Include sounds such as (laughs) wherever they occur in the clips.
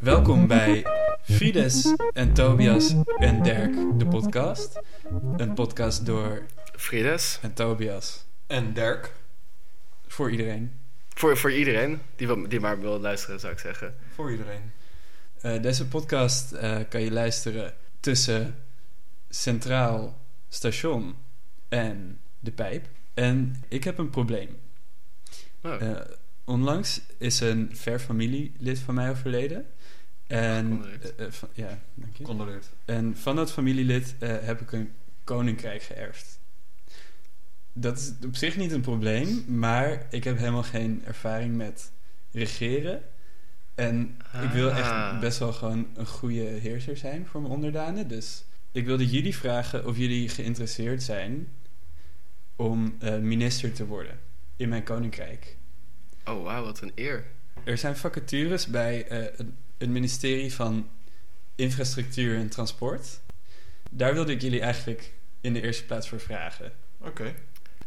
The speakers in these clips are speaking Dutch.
Welkom bij Fides en Tobias en Dirk, de podcast. Een podcast door Frides. en Tobias. En Dirk. Voor iedereen. Voor, voor iedereen die, wel- die maar wil luisteren, zou ik zeggen. Voor iedereen. Eh, deze podcast eh, kan je luisteren tussen Centraal Station en De Pijp. En ik heb een probleem. Oh, Eh, onlangs is een ver familielid van mij overleden. En, Gecondoleerd. eh, eh, van- ja, dank je. Condoleert. en van dat familielid eh, heb ik een koninkrijk geërfd. Dat is op zich niet een probleem, maar ik heb helemaal geen ervaring met regeren. En ik wil echt Ah. best wel gewoon een goede heerser zijn voor mijn onderdanen. Dus ik wilde jullie vragen of jullie geïnteresseerd zijn om eh, minister te worden in mijn koninkrijk. oh wauw, wat een eer. Er zijn vacatures bij eh, het- het ministerie van Infrastructuur en Transport. Daar wilde ik jullie eigenlijk in de eerste plaats voor vragen. Oké.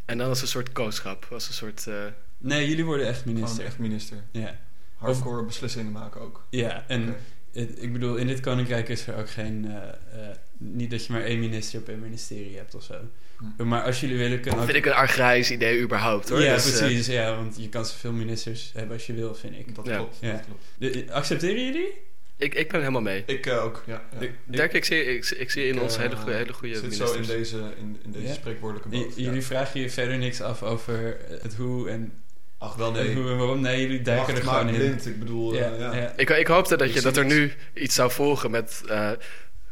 En dan als een soort kooschap, als een soort... eh, Nee, jullie worden echt Gewoon minister. Oh, echt minister. Ja. Hardcore beslissingen maken ook. ja, en Oké. het- ik bedoel, in dit koninkrijk is er ook geen... eh, eh, niet dat je maar één minister op één ministerie hebt of zo. Hm. Maar als jullie willen kunnen... ook- vind ik een archaïs idee überhaupt, hoor. ja, Dus, eh, precies. Ja, want je kan zoveel ministers hebben als je wil, vind ik. Dat Ja. klopt. Ja. Dat klopt. De- accepteren jullie? ik, ik ben helemaal mee. Ik eh, ook. Ja, ja. Ik- ik- Dirk, ik zie, ik, ik zie in Ik, ons eh, hele goede, hele goede zit ministers. zo in deze, in, in deze Ja. spreekwoordelijke J- boot. ja. jullie vragen je verder niks af over het hoe en Ach, wel En nee. hoe en waarom? Nee, jullie duiken Macht er gewoon maakt in. blind. Ik bedoel, eh, Ja, ja, ja. (laughs) Ik, ik hoopte dat, Ik je, zie dat er niks. nu iets zou volgen met... eh,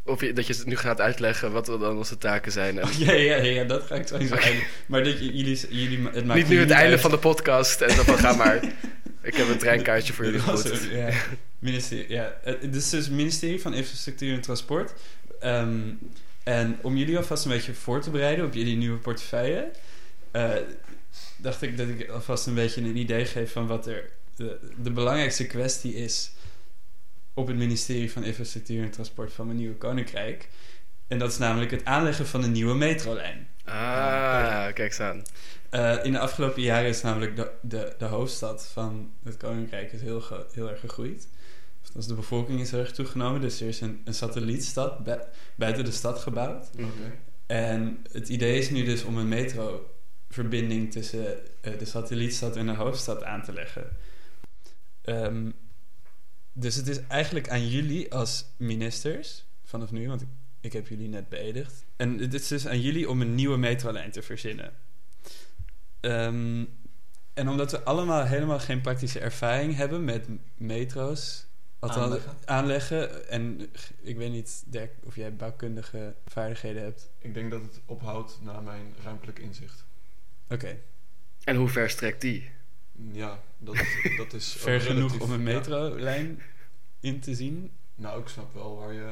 of je, dat je het nu gaat uitleggen wat dan onze taken zijn. En Oh, ja, ja, ja, dat ga ik zo eens Oké. (laughs) eindigen. Maar dat je- jullie, jullie, het maakt niet nu het einde van de de podcast en dan van ga maar. (laughs) Ik heb een treinkaartje voor jullie geboekt. (laughs) Ja. Ministerie, ja. Het het is dus het ministerie van Infrastructuur en Transport. Ehm, en om jullie alvast een beetje voor te bereiden op jullie nieuwe portefeuille, eh, dacht ik dat ik alvast een beetje een idee geef van wat er de, de belangrijkste kwestie is op het ministerie van Infrastructuur en Transport van mijn nieuwe koninkrijk. En dat is namelijk het aanleggen van een nieuwe metrolijn. Ah, kijk eens aan. Eh, in de afgelopen jaren is namelijk de, de, de hoofdstad van het Koninkrijk is heel, ge- heel erg gegroeid. Of dat is de bevolking is heel erg toegenomen. Dus er is een, een satellietstad bu- buiten de stad gebouwd. Oké. En het idee is nu dus om een metroverbinding tussen eh, de satellietstad en de hoofdstad aan te leggen. Ehm, dus het is eigenlijk aan jullie als ministers, vanaf nu, want ik, ik heb jullie net beëdigd. En het is dus aan jullie om een nieuwe metrolijn te verzinnen. Ehm, en omdat we allemaal helemaal geen praktische ervaring hebben met m- metro's, althans aanleggen, Aanleggen. en g- ik weet niet, Dirk, of jij bouwkundige vaardigheden hebt. Ik denk dat het ophoudt na mijn ruimtelijk inzicht. Oké, En hoe ver strekt die? Ja, dat, dat is... ook (laughs) ver genoeg relatief, om een ja. metrolijn in te zien. Nou, ik snap wel waar je.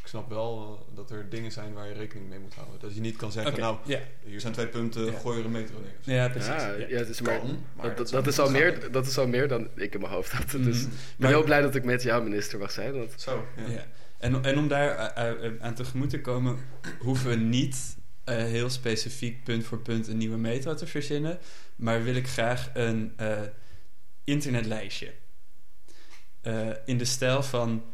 Ik snap wel eh, dat er dingen zijn waar je rekening mee moet houden. Dat je niet kan zeggen, Oké, nou, ja. hier zijn twee punten, Ja. gooi er een metro neer. ja, precies. Oh. Ja, ja. ja, dus maar, Kan, maar dat, dat dat, zou is al moeten meer, gaan. dat is al meer dan ik in mijn hoofd had. Dus Mhm. ik ben Maar- heel blij dat ik met jou minister mag zijn. Want Zo, ja. Ja. En, en om daar eh, eh, aan tegemoet te komen, hoeven we niet eh, heel specifiek punt voor punt een nieuwe metro te verzinnen, maar wil ik graag een eh, internetlijstje. Eh, in de stijl van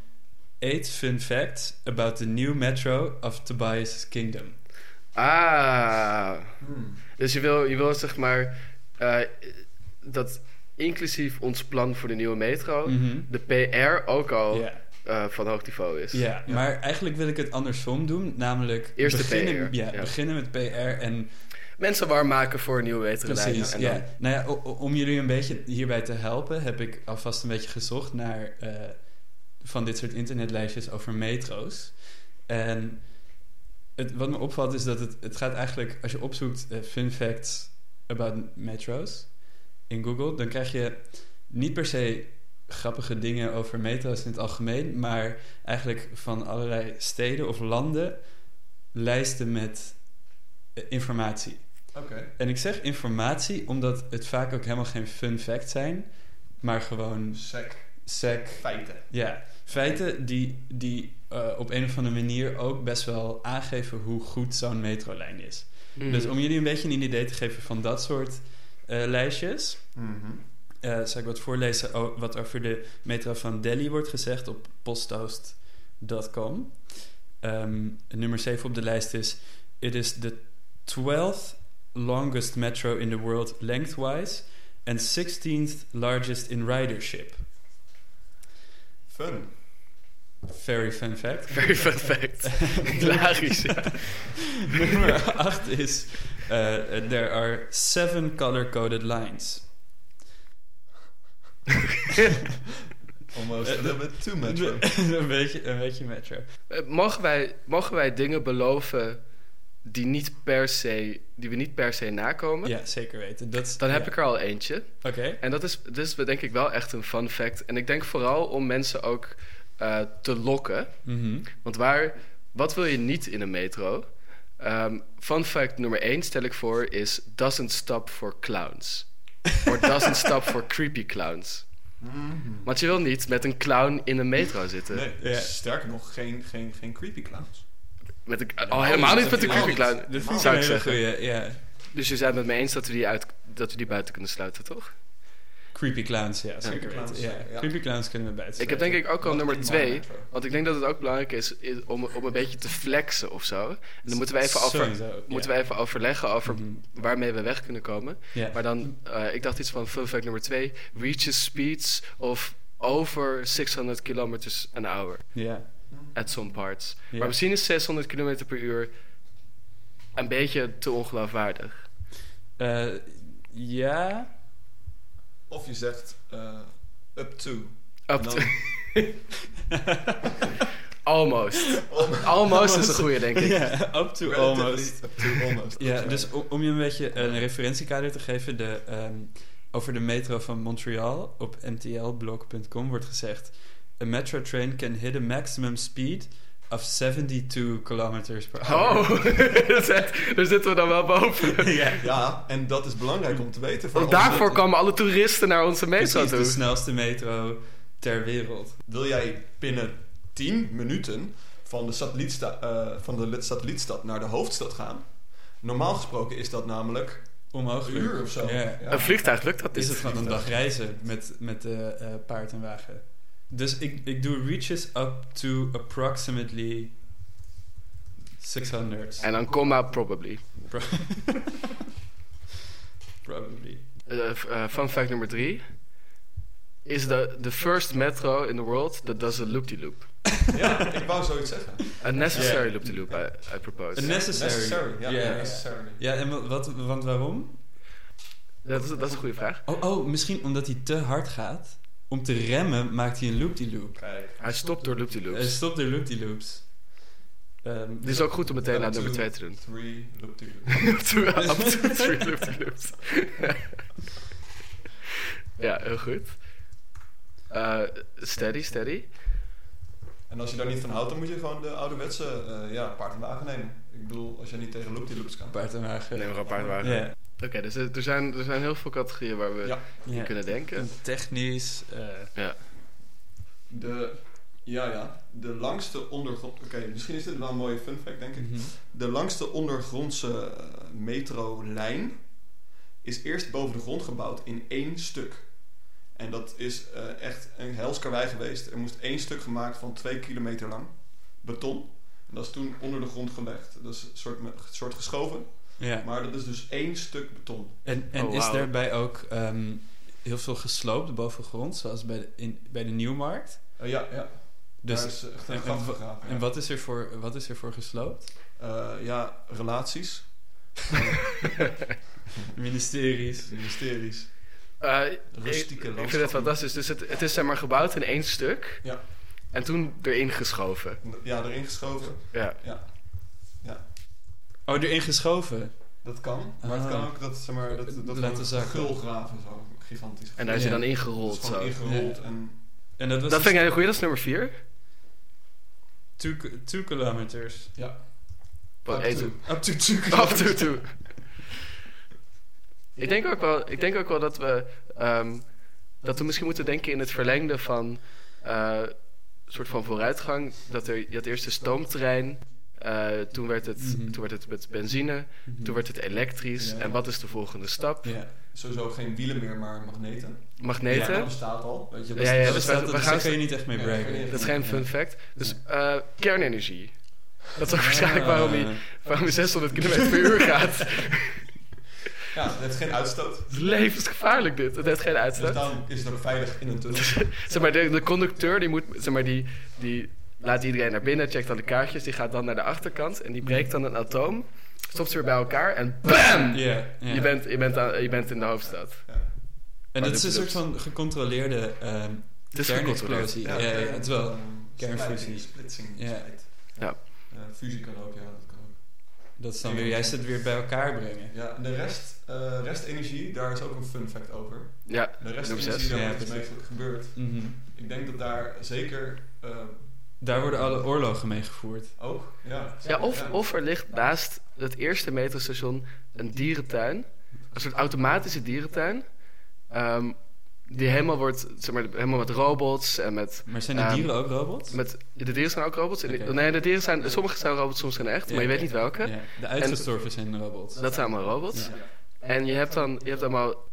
8 fun facts about the new metro of Tobias' kingdom. ah, Hmm. dus je wil, je wil zeg maar eh, dat inclusief ons plan voor de nieuwe metro, Mhm. de PR ook al Ja. eh, van hoog niveau is. Ja, Ja. maar eigenlijk wil ik het andersom doen, namelijk Eerst de beginnen, PR, Ja, ja. beginnen met PR en Mensen warm maken voor een nieuwe metrolijn. precies. en ja. dan- Nou ja, o- o- om jullie een beetje hierbij te helpen, heb ik alvast een beetje gezocht naar eh, van dit soort internetlijstjes over metro's. En het, wat me opvalt is dat het, het gaat eigenlijk, als je opzoekt eh, fun facts about metro's in Google, dan krijg je niet per se grappige dingen over metro's in het algemeen, maar eigenlijk van allerlei steden of landen lijsten met eh, informatie. Oké. En ik zeg informatie omdat het vaak ook helemaal geen fun facts zijn, maar gewoon Sec. sec. Feiten. Ja, feiten die, die eh, op een of andere manier ook best wel aangeven hoe goed zo'n metrolijn is. Mhm. Dus om jullie een beetje een idee te geven van dat soort eh, eh, lijstjes. Mhm. Eh, zal ik wat voorlezen o- wat over de metro van Delhi wordt gezegd op posthost.com. Ehm, nummer 7 op de lijst is... It is the 12th longest metro in the world lengthwise... and 16th largest in ridership. Fun. Very fun fact. (laughs) Very fun (laughs) fact. Hilarisch. ja. Nummer 8 is... eh, there are seven color-coded lines. Almost Eh, a little bit too much. fun. (laughs) een, beetje, een beetje metro. Eh, Mogen wij, mogen wij dingen beloven die, niet per se, die we niet per se nakomen? Ja, zeker weten. Dat, is- Dan heb ja. ik er al eentje. Oké. En dat is, dit is denk ik wel echt een fun fact. En ik denk vooral om mensen ook eh, te lokken. Mhm. Want waar, wat wil je niet in een metro? Ehm, fun fact nummer 1 stel ik voor is... doesn't stop for clowns. Or doesn't stop for creepy clowns. Mhm. Want je wil niet met een clown in een metro zitten. Nee, Ja. sterker nog, geen, geen, geen creepy clowns. Met een, oh, helemaal niet met een creepy clown. Dit vind ik Zou een ik hele zeggen. goeie, ja. Dus je bent het met me eens dat we die, uit, dat we die buiten kunnen sluiten, toch? Creepy clowns, ja, zeker creepy weten. clowns, Ja. zeker, ja. Creepy clowns kunnen we buiten. Ik heb denk ik ook al nummer In 2... Minecraft. Want ik denk dat het ook belangrijk is, is om, om een beetje te flexen of zo. En dan moeten we even, over, Sowieso, ja. moeten we even overleggen over Mhm. waarmee we weg kunnen komen. Ja. Maar dan, eh, ik dacht iets van fun fact nummer 2. Reaches speeds of over 600 kilometers an hour ja. at some parts. Ja. Maar misschien is 600 kilometer per uur een beetje te ongeloofwaardig. Eh, ja. Of je zegt eh, up to. Up En to- dan- almost. (laughs) almost is een goede, denk ik. Ja, up to Relatively almost. Up to almost. Ja, dus o- om je een beetje een referentiekader te geven, de, ehm, over de metro van Montreal op mtlblog.com wordt gezegd: A metro train can hit a maximum speed of 72 kilometers per hour. Oh, (laughs) dat is echt- daar zitten we dan wel (laughs) boven. ja. Ja, en dat is belangrijk om te weten. voor Want ons. daarvoor komen alle toeristen naar onze metro Precies, dus- de toe. snelste metro ter wereld. Wil jij binnen 10 minuten van de, satellietsta- eh, van de lid- satellietstad naar de hoofdstad gaan? Normaal gesproken is dat namelijk een Onmogelijk. uur of zo. Ja. Ja. Een vliegtuig lukt dat Is niet. het gewoon een dag reizen met, met de eh, paard en wagen? Dus ik, ik doe reaches up to approximately 600. En dan comma probably. Probably. Eh, f- eh, fun fact nummer 3 is the, the first metro in the world that does a loop-de-loop. Ja, ik wou zoiets zeggen. A necessary Ja. loop-de-loop, eh, I, I A propose. necessary. Necessary. Ja, Ja, ja. necessary. Ja, en wa- wat, want waarom? dat, is, dat is een goede vraag. Oh, oh, misschien omdat hij te hard gaat. Om te remmen maakt hij een loop-de-loop. Kijk. Hij stopt door Hij loop-de-loops. stopt de loop-de-loops. Ehm, Het is ook goed om meteen Up naar to nummer 2 te doen. (laughs) Three, loop to loop. Up to- (laughs) Up to three loop-de-loops. (laughs) ja, heel goed. Eh, steady, steady. En als je daar niet van houdt, dan moet je gewoon de ouderwetse eh ja, paard en wagen nemen. Ik bedoel, als je niet tegen loop loops kan. Paard en wagen. Neem maar een paard Ja. wagen. Ja. Oké, dus er er zijn, er zijn heel veel categorieën waar we Ja. in kunnen denken. Technisch. eh, De, ja, ja. De langste ondergrond... Oké, misschien is dit wel een mooie fun fact, denk ik. mhm. De langste ondergrondse eh, metrolijn is eerst boven de grond gebouwd in één stuk. En dat is eh, echt een helskarwei geweest. Er moest één stuk gemaakt van twee kilometer lang. Beton. En dat is toen onder de grond gelegd. Dat is een soort, me- soort geschoven. Ja. Maar dat is dus één stuk beton. En, en Oh, is wauw. daarbij ook ehm, heel veel gesloopt bovengrond, zoals bij de, in, bij de Nieuwmarkt. Eh, ja, ja. Dus, Daar is eh, echt en- een en gat wa- gegraven. En wat is, er voor, wat is er voor gesloopt? Eh, ja, relaties. Ministeries. Ministeries. Eh, ik- Rustieke ik, vind het landschappen. fantastisch. Dus het, het is zeg maar gebouwd in één stuk. Ja. En toen erin geschoven. Ja, erin geschoven. Ja. Oh, erin geschoven. Dat kan. Maar het Ah. kan ook dat, zeg maar, dat, dat Laten we zakken. gulgraven zo. Gigantisch. En daar is Ja. hij dan Dat ingerold. is gewoon zo. ingerold en... En dat was dus Dat vind dus- ik een hele goeie, dat is nummer 4. two, two kilometers. Ja. Up Up to, to. Up to two up to two. Ik denk ook wel, ik denk ook wel dat we. ehm, dat we misschien moeten denken in het verlengde van. eh soort van vooruitgang. Dat er. Je had eerst de stoomtrein. eh, toen, werd het, Mhm. toen werd het met benzine. Toen werd het elektrisch. Ja. En wat is de volgende stap? Ja. sowieso geen wielen meer, maar magneten. Magneten. dat bestaat al. Weet je, Ja, dat ja, ja, dat dus staat- we- we dat- gaan daar kun je niet echt mee Ja, braggen. dat Dat is geen fun fact. Dus eh, kernenergie. Dat is ook Ah. waarschijnlijk waarom hij, waarom hij 600 km per uur (laughs) gaat. ja, het heeft geen uitstoot. Het is levensgevaarlijk dit. Het heeft geen Dus uitstoot. daarom is het ook veilig in een (laughs) tunnel. Zeg maar, de, de conducteur die moet, zeg maar, die, die laat iedereen naar binnen, checkt dan de kaartjes, die gaat dan naar de achterkant en die breekt dan een atoom, stopt ze weer bij elkaar en BAM! Ja, ja. Je, bent, Oh, je, bent aan- je bent in de hoofdstad. Ja. En Maar dat is een dit soort bedoelt- van gecontroleerde ehm Het is kernexplosie. Ja, ja, het is wel. Kernfusie. Kernfusie. Ehm, Splitsing. Ja. splijt. Ja. Eh, fusie kan ook, ja, dat kan ook. Dat is dan weer juist het weer bij elkaar brengen. Ja, en de rest, eh, restenergie, daar is ook een fun fact over. Ja, De Nummer restenergie, zes. daar Ja, wordt iets mee precies. gebeurd. Mhm. Ik denk dat daar zeker eh, Daar worden alle oorlogen mee gevoerd. ook, ja. ja of, of er ligt naast het eerste metrostation een dierentuin, een soort automatische dierentuin, ehm, die helemaal wordt, zeg maar, helemaal met robots en met... Maar zijn de Ehm, dieren ook robots? met de dieren zijn ook robots. En die- Oké. Nee, de dieren zijn, sommige zijn robots, soms zijn echt, Ja, maar je weet ja. niet welke. Ja, de uitgestorven zijn robots. Dat zijn allemaal robots. Ja. En je hebt dan, je hebt allemaal,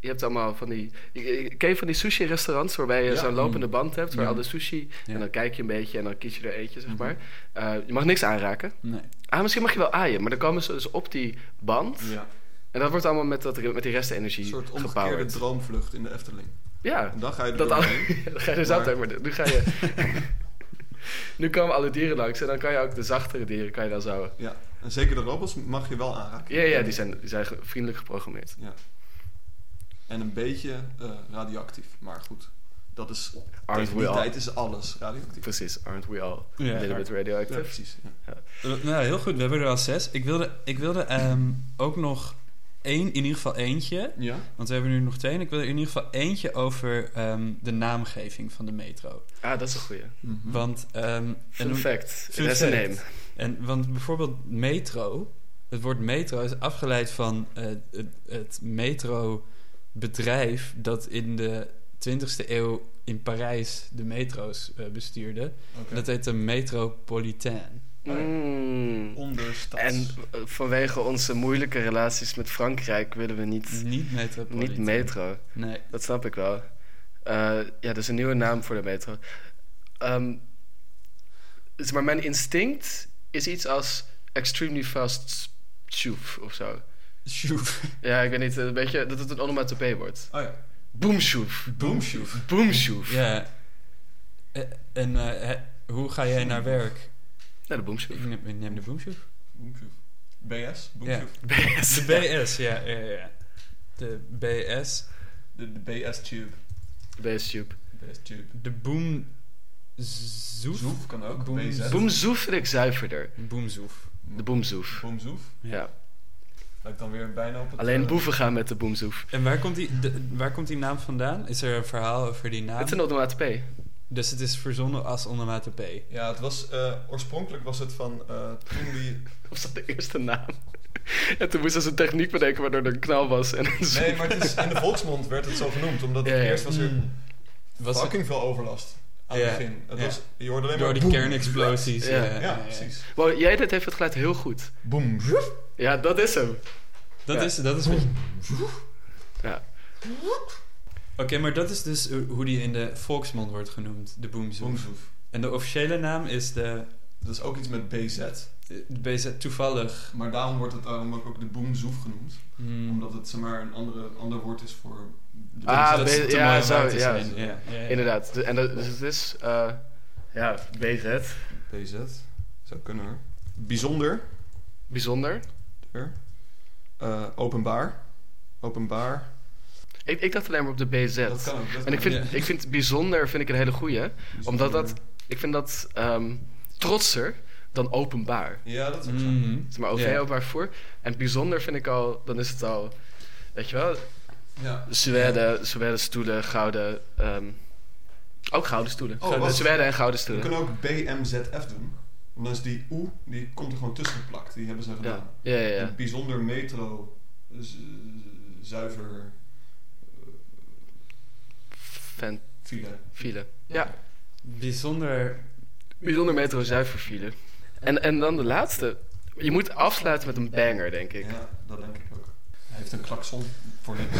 je hebt allemaal van die, je- je- ken je van die sushi restaurants waarbij je Ja. Mm-hmm. zo'n lopende band hebt, waar Ja. al de sushi, Ja. en dan kijk je een beetje en dan kies je er eentje, zeg Mhm. maar. Eh, je mag niks aanraken. Nee. Ah, misschien mag je wel aaien, maar dan komen ze dus op die band. Ja. En dat wordt allemaal met, dat, met die Een restenergie soort omgekeerde gebouwd. droomvlucht in de Efteling. Ja, En dan ga je er dat al, doorheen. dan (laughs) ga je er Maar- zat uit, maar nu ga je... (laughs) nu komen alle dieren langs en dan kan je ook de zachtere dieren kan je dan zouden. Ja. En zeker de robots mag je wel aanraken. Ja, ja, die zijn, die zijn ge- vriendelijk geprogrammeerd. Ja. En een beetje eh, radioactief, maar goed. Dat is, Aren't tegen we die all? tijd is alles radioactief. Precies, aren't we all Ja, a little hard. bit radioactive? Ja, precies. Ja. Eh, Nou, heel goed. We hebben er al zes. Ik wilde, ik wilde ehm, ook nog één, in ieder geval eentje. Ja? Want we hebben nu nog twee. En ik wil er in ieder geval eentje over ehm, de naamgeving van de metro. Ah, dat is een goeie. Mhm. Want, ehm, Fun en, fact. fun That's a fact. name. en, want bijvoorbeeld metro. Het woord metro is afgeleid van eh, het, het metrobedrijf dat in de 20e eeuw in Parijs de metro's eh, bestuurde. Oké. Dat heet de Metropolitain. Mm. Onderstads. En eh, vanwege onze moeilijke relaties met Frankrijk willen we niet, Niet Metropolitain. niet metro. Nee. Dat snap ik wel. Eh, ja, dat is een nieuwe naam voor de metro. Ehm, zeg maar mijn instinct is iets als extremely fast shoef of zo. Sjoef. Ja, ik weet niet, een beetje dat het een onomatopee wordt. Oh ja. Boom shoef. Boomshoef. Boom shoef. Ja. Eh, En eh, hè, hoe ga jij naar werk? Nou, de boom shoef. Ik neem, ik neem de (laughs) boomshoef. Boomshoef. BS? Boomshoef. De BS, ja. ja, ja, ja. De BS. De, de BS-tube. Best shoef. BS-tube. De boom... Zoef? Zoef kan ook. Boom- BZ. Boom zoef vind ik zuiverder. Boomzoef. De boomzoef. Boomzoef. Ja. Lijkt dan weer bijna op het... Alleen eh, boeven gaan met de boemzoef. En waar komt, die, de- waar komt die naam vandaan? Is er een verhaal over die naam? Het is een automaat P. Dus het is verzonnen als onomatope. Ja, het was... eh, oorspronkelijk was het van... eh, toen (laughs) die... Was dat de eerste naam? En toen moesten ze een techniek bedenken waardoor er een knal was en een zoef. Nee, maar het is, in de volksmond werd het zo genoemd. Omdat het Ja, ja. eerst was er Hmm. Was het fucking veel overlast. Aan Ja. het begin. Het Ja. was, je hoorde alleen door maar... die boem. kernexplosies. Ja. Ja, ja. precies. Wow, jij dit heeft het geluid heel goed. Boom. Ja, dat is hem. Dat Ja. is dat is wat je- Ja. Oké, maar dat is dus eh, hoe die in de volksmond wordt genoemd, de boomzoef. Boomzoef. En de officiële naam is de, Dat is ook iets met BZ. eh, de BZ toevallig. Maar daarom wordt het daarom ook ook de boomzoef genoemd. Hmm. Omdat het zeg maar, een andere, ander woord is voor... de Ah, BZ. dat be- is te ja, mooi om zo, waar te ja. zijn. Ja, ja, ja. Inderdaad. De- En dat, dus het is... eh, ja, BZ. BZ. Zou kunnen hoor. Bijzonder. Bijzonder. Eh, openbaar. Openbaar. Ik, ik dacht alleen maar op de BZ. Dat kan ook. Dat En ik kan vind, Ja. ik vind bijzonder vind ik een hele goeie. ook. omdat dat- Ik vind dat ehm, trotser dan openbaar. Ja, dat is ook zo. Mhm. Zeg maar OV Ja. openbaar vervoer. En bijzonder vind ik al, dan is het al, weet je wel, Ja. Zweden, Zweden stoelen, gouden. ehm, ook gouden stoelen. Oh, gouden, wacht. Zweden en gouden We stoelen. kunnen ook BMZF doen. Want dan is die oe, die komt er gewoon tussen geplakt. Die hebben ze Ja, gedaan. ja, ja. ja. Een bijzonder metro. z- zuiver. Fan file. file. Ja, Bijzonder. (laughs) bijzonder metro zuiver file. En, en dan de laatste. Je moet afsluiten met een banger, denk ik. Ja, dat denk ik ook. Hij heeft een klakson. Voor niks.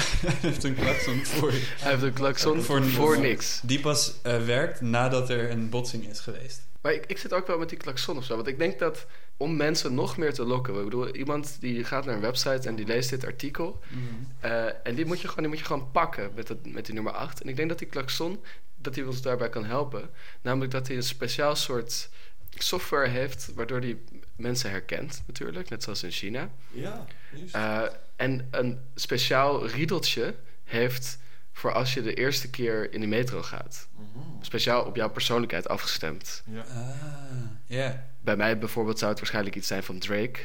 Hij heeft een klakson voor je. Hij heeft een klakson Voor voor, niks. voor niks. Die pas eh, werkt nadat er een botsing is geweest. Maar ik, ik zit ook wel met die klakson of zo. Want ik denk dat om mensen nog meer te lokken. Ik bedoel, iemand die gaat naar een website en die leest dit artikel. Mhm. eh, en die moet, je gewoon, die moet je gewoon pakken met, dat, met die nummer 8. En ik denk dat die klakson dat die ons daarbij kan helpen. Namelijk dat hij een speciaal soort software heeft. waardoor hij mensen herkent, natuurlijk. Net zoals in China. Ja, juist. Eh, en een speciaal riedeltje heeft voor als je de eerste keer in de metro gaat. Mhm. Speciaal op jouw persoonlijkheid afgestemd. Ja. Ah, ja. Bij mij bijvoorbeeld zou het waarschijnlijk iets zijn van Drake.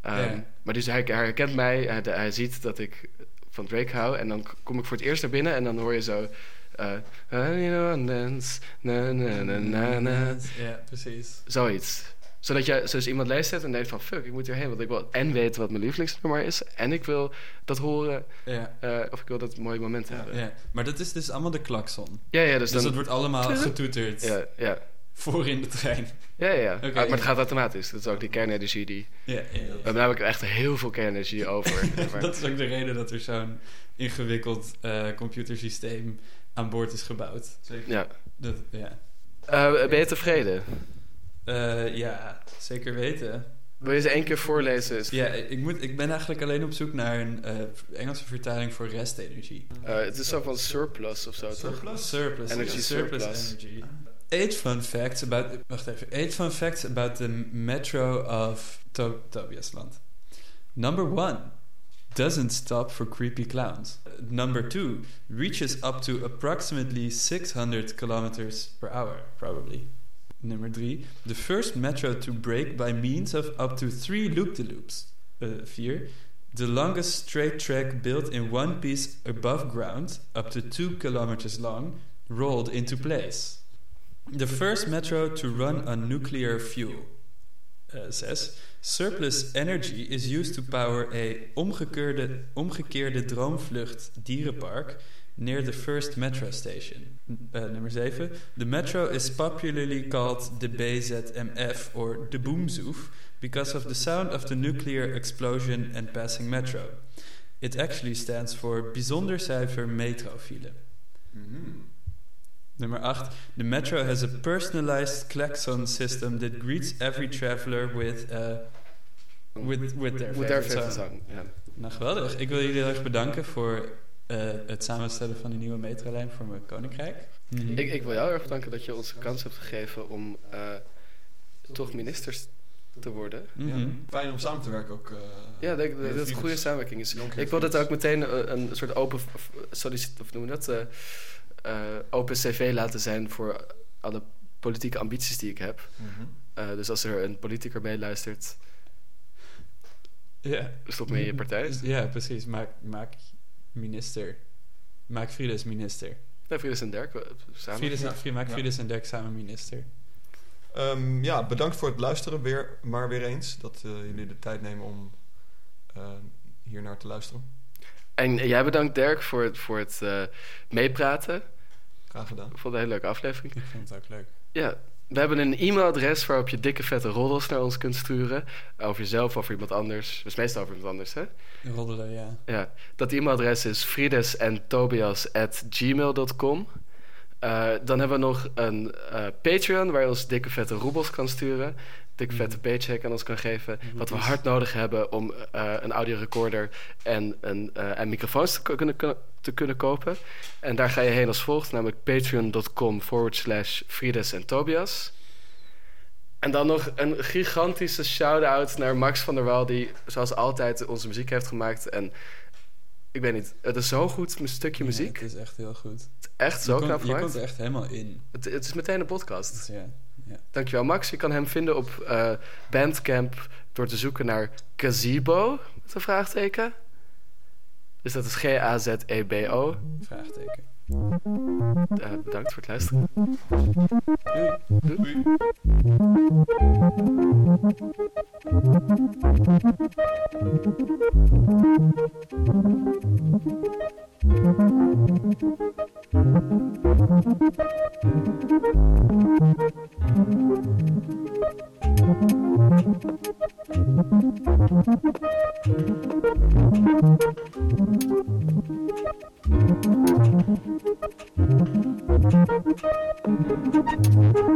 Ehm, Ja. Maar dus hij, hij herkent mij, hij, hij ziet dat ik van Drake hou. En dan k- kom ik voor het eerst naar binnen en dan hoor je zo... eh, "I wanna dance, na, na, na, na, na." Ja, precies. Zoiets. Zodat je, zoals iemand leest het en denkt van... Fuck, ik moet hierheen, want ik wil en weten wat mijn lievelingsnummer is. En ik wil dat horen Ja, eh, of ik wil dat mooie moment Ja. hebben. ja. Maar dat is dus allemaal de klakson. Ja, ja, dus, Dus, dat dan... wordt allemaal getoeterd Ja, ja, voor in de trein. ja, ja. ja. Oké, Ah, maar het ja. gaat automatisch. Dat is ook die kernenergie die... Ja, ja. We hebben namelijk echt heel veel kernenergie over. (laughs) Maar- (laughs) dat is ook de reden dat er zo'n ingewikkeld eh, computersysteem aan boord is gebouwd. Zeker. ja. Dat, ja. Eh, ben je tevreden? Eh, ja, zeker weten. Wil je ze één keer voorlezen? Is- Ja, ik, moet, ik ben eigenlijk alleen op zoek naar een eh, Engelse vertaling voor restenergie. Eh, het is zo van surplus of zo, toch? Surplus? Surplus. Energy ja, surplus, surplus. energy. Eight fun facts about... Wacht even. Eight fun facts about the metro of to Tobiasland. Number one. Doesn't stop for creepy clowns. Number two. Reaches up to approximately 600 kilometers per hour, probably. Number three. The first metro to break by means of up to three loop-de-loops. Uh, vier. The longest straight track built in one piece above ground, up to two kilometers long, rolled into place. The first metro to run on nuclear fuel. Uh, zes. Surplus energy is used to power a omgekeerde, omgekeerde droomvlucht dierenpark near the first metro station. Uh, nummer 7. The metro is popularly called the BZMF or de Boomzoef because of the sound of the nuclear explosion and passing metro. It actually stands for bijzonder cijfer metrofielen. Mhm. Nummer 8. The metro has a personalized klaxon system that greets every traveler with, eh, with, with their Moet favorite daar verder song. staan. Ja. Nou, geweldig. Ik wil jullie heel erg bedanken voor eh, het samenstellen van de nieuwe metrolijn voor mijn koninkrijk. Mhm. Ik, ik wil jou erg bedanken dat je ons de kans hebt gegeven om eh, toch ministers te worden. Mhm. Ja. Fijn om samen te werken ook. eh, Ja, ik denk dat met het een Philips. goede samenwerking is. Jonker Ik wil dat Philips. ook meteen eh, een soort open, of, sollicit, of noem je dat, eh, eh, open cv laten zijn voor alle politieke ambities die ik heb. Mhm. Eh, dus als er een politicus meeluistert, Ja. stop mee in je partij. Nee, Ja, precies. Maak, maak minister. Maak Frides minister. Frieders en Dirk, we- samen. Frides, Ja. Fri- maak Ja. Frides en Dirk samen minister. Ehm, ja, bedankt voor het luisteren weer, maar weer eens. Dat eh, jullie de tijd nemen om eh, hier naar te luisteren. En jij bedankt Dirk voor het, voor het eh, meepraten. Graag gedaan. Ik vond het een hele leuke aflevering. Ik vond het ook leuk. Ja, we hebben een e-mailadres waarop je dikke vette roddels naar ons kunt sturen. Over jezelf, over iemand anders. Dat is meestal over iemand anders, hè? Roddelen, ja. Ja, dat e-mailadres is friedesentobias.gmail.com. Eh dan hebben we nog een eh, Patreon waar je ons dikke vette roebels kan sturen. Dikke vette paycheck aan ons kan geven. Wat we Roebels. hard nodig hebben om eh, een audiorecorder en, een, eh, en microfoons te ko- kunnen, te kunnen kopen. En daar ga je heen als volgt, namelijk patreon.com forward slash Frides en Tobias. En dan nog een gigantische shout-out naar Max van der Waal, die zoals altijd onze muziek heeft gemaakt. En ik weet niet, het is zo goed een stukje muziek. Ja, het is echt heel goed. Echt zo je knap komt, je gemaakt. komt er echt helemaal in. Het, het is meteen een podcast. Dus ja. Dankjewel Max. Je kan hem vinden op eh, Bandcamp door te zoeken naar Gazebo, met een vraagteken. Dus dat is G-A-Z-E-B-O. Vraagteken. E Eh, bedankt voor het luisteren. Doei. Doei. Doei.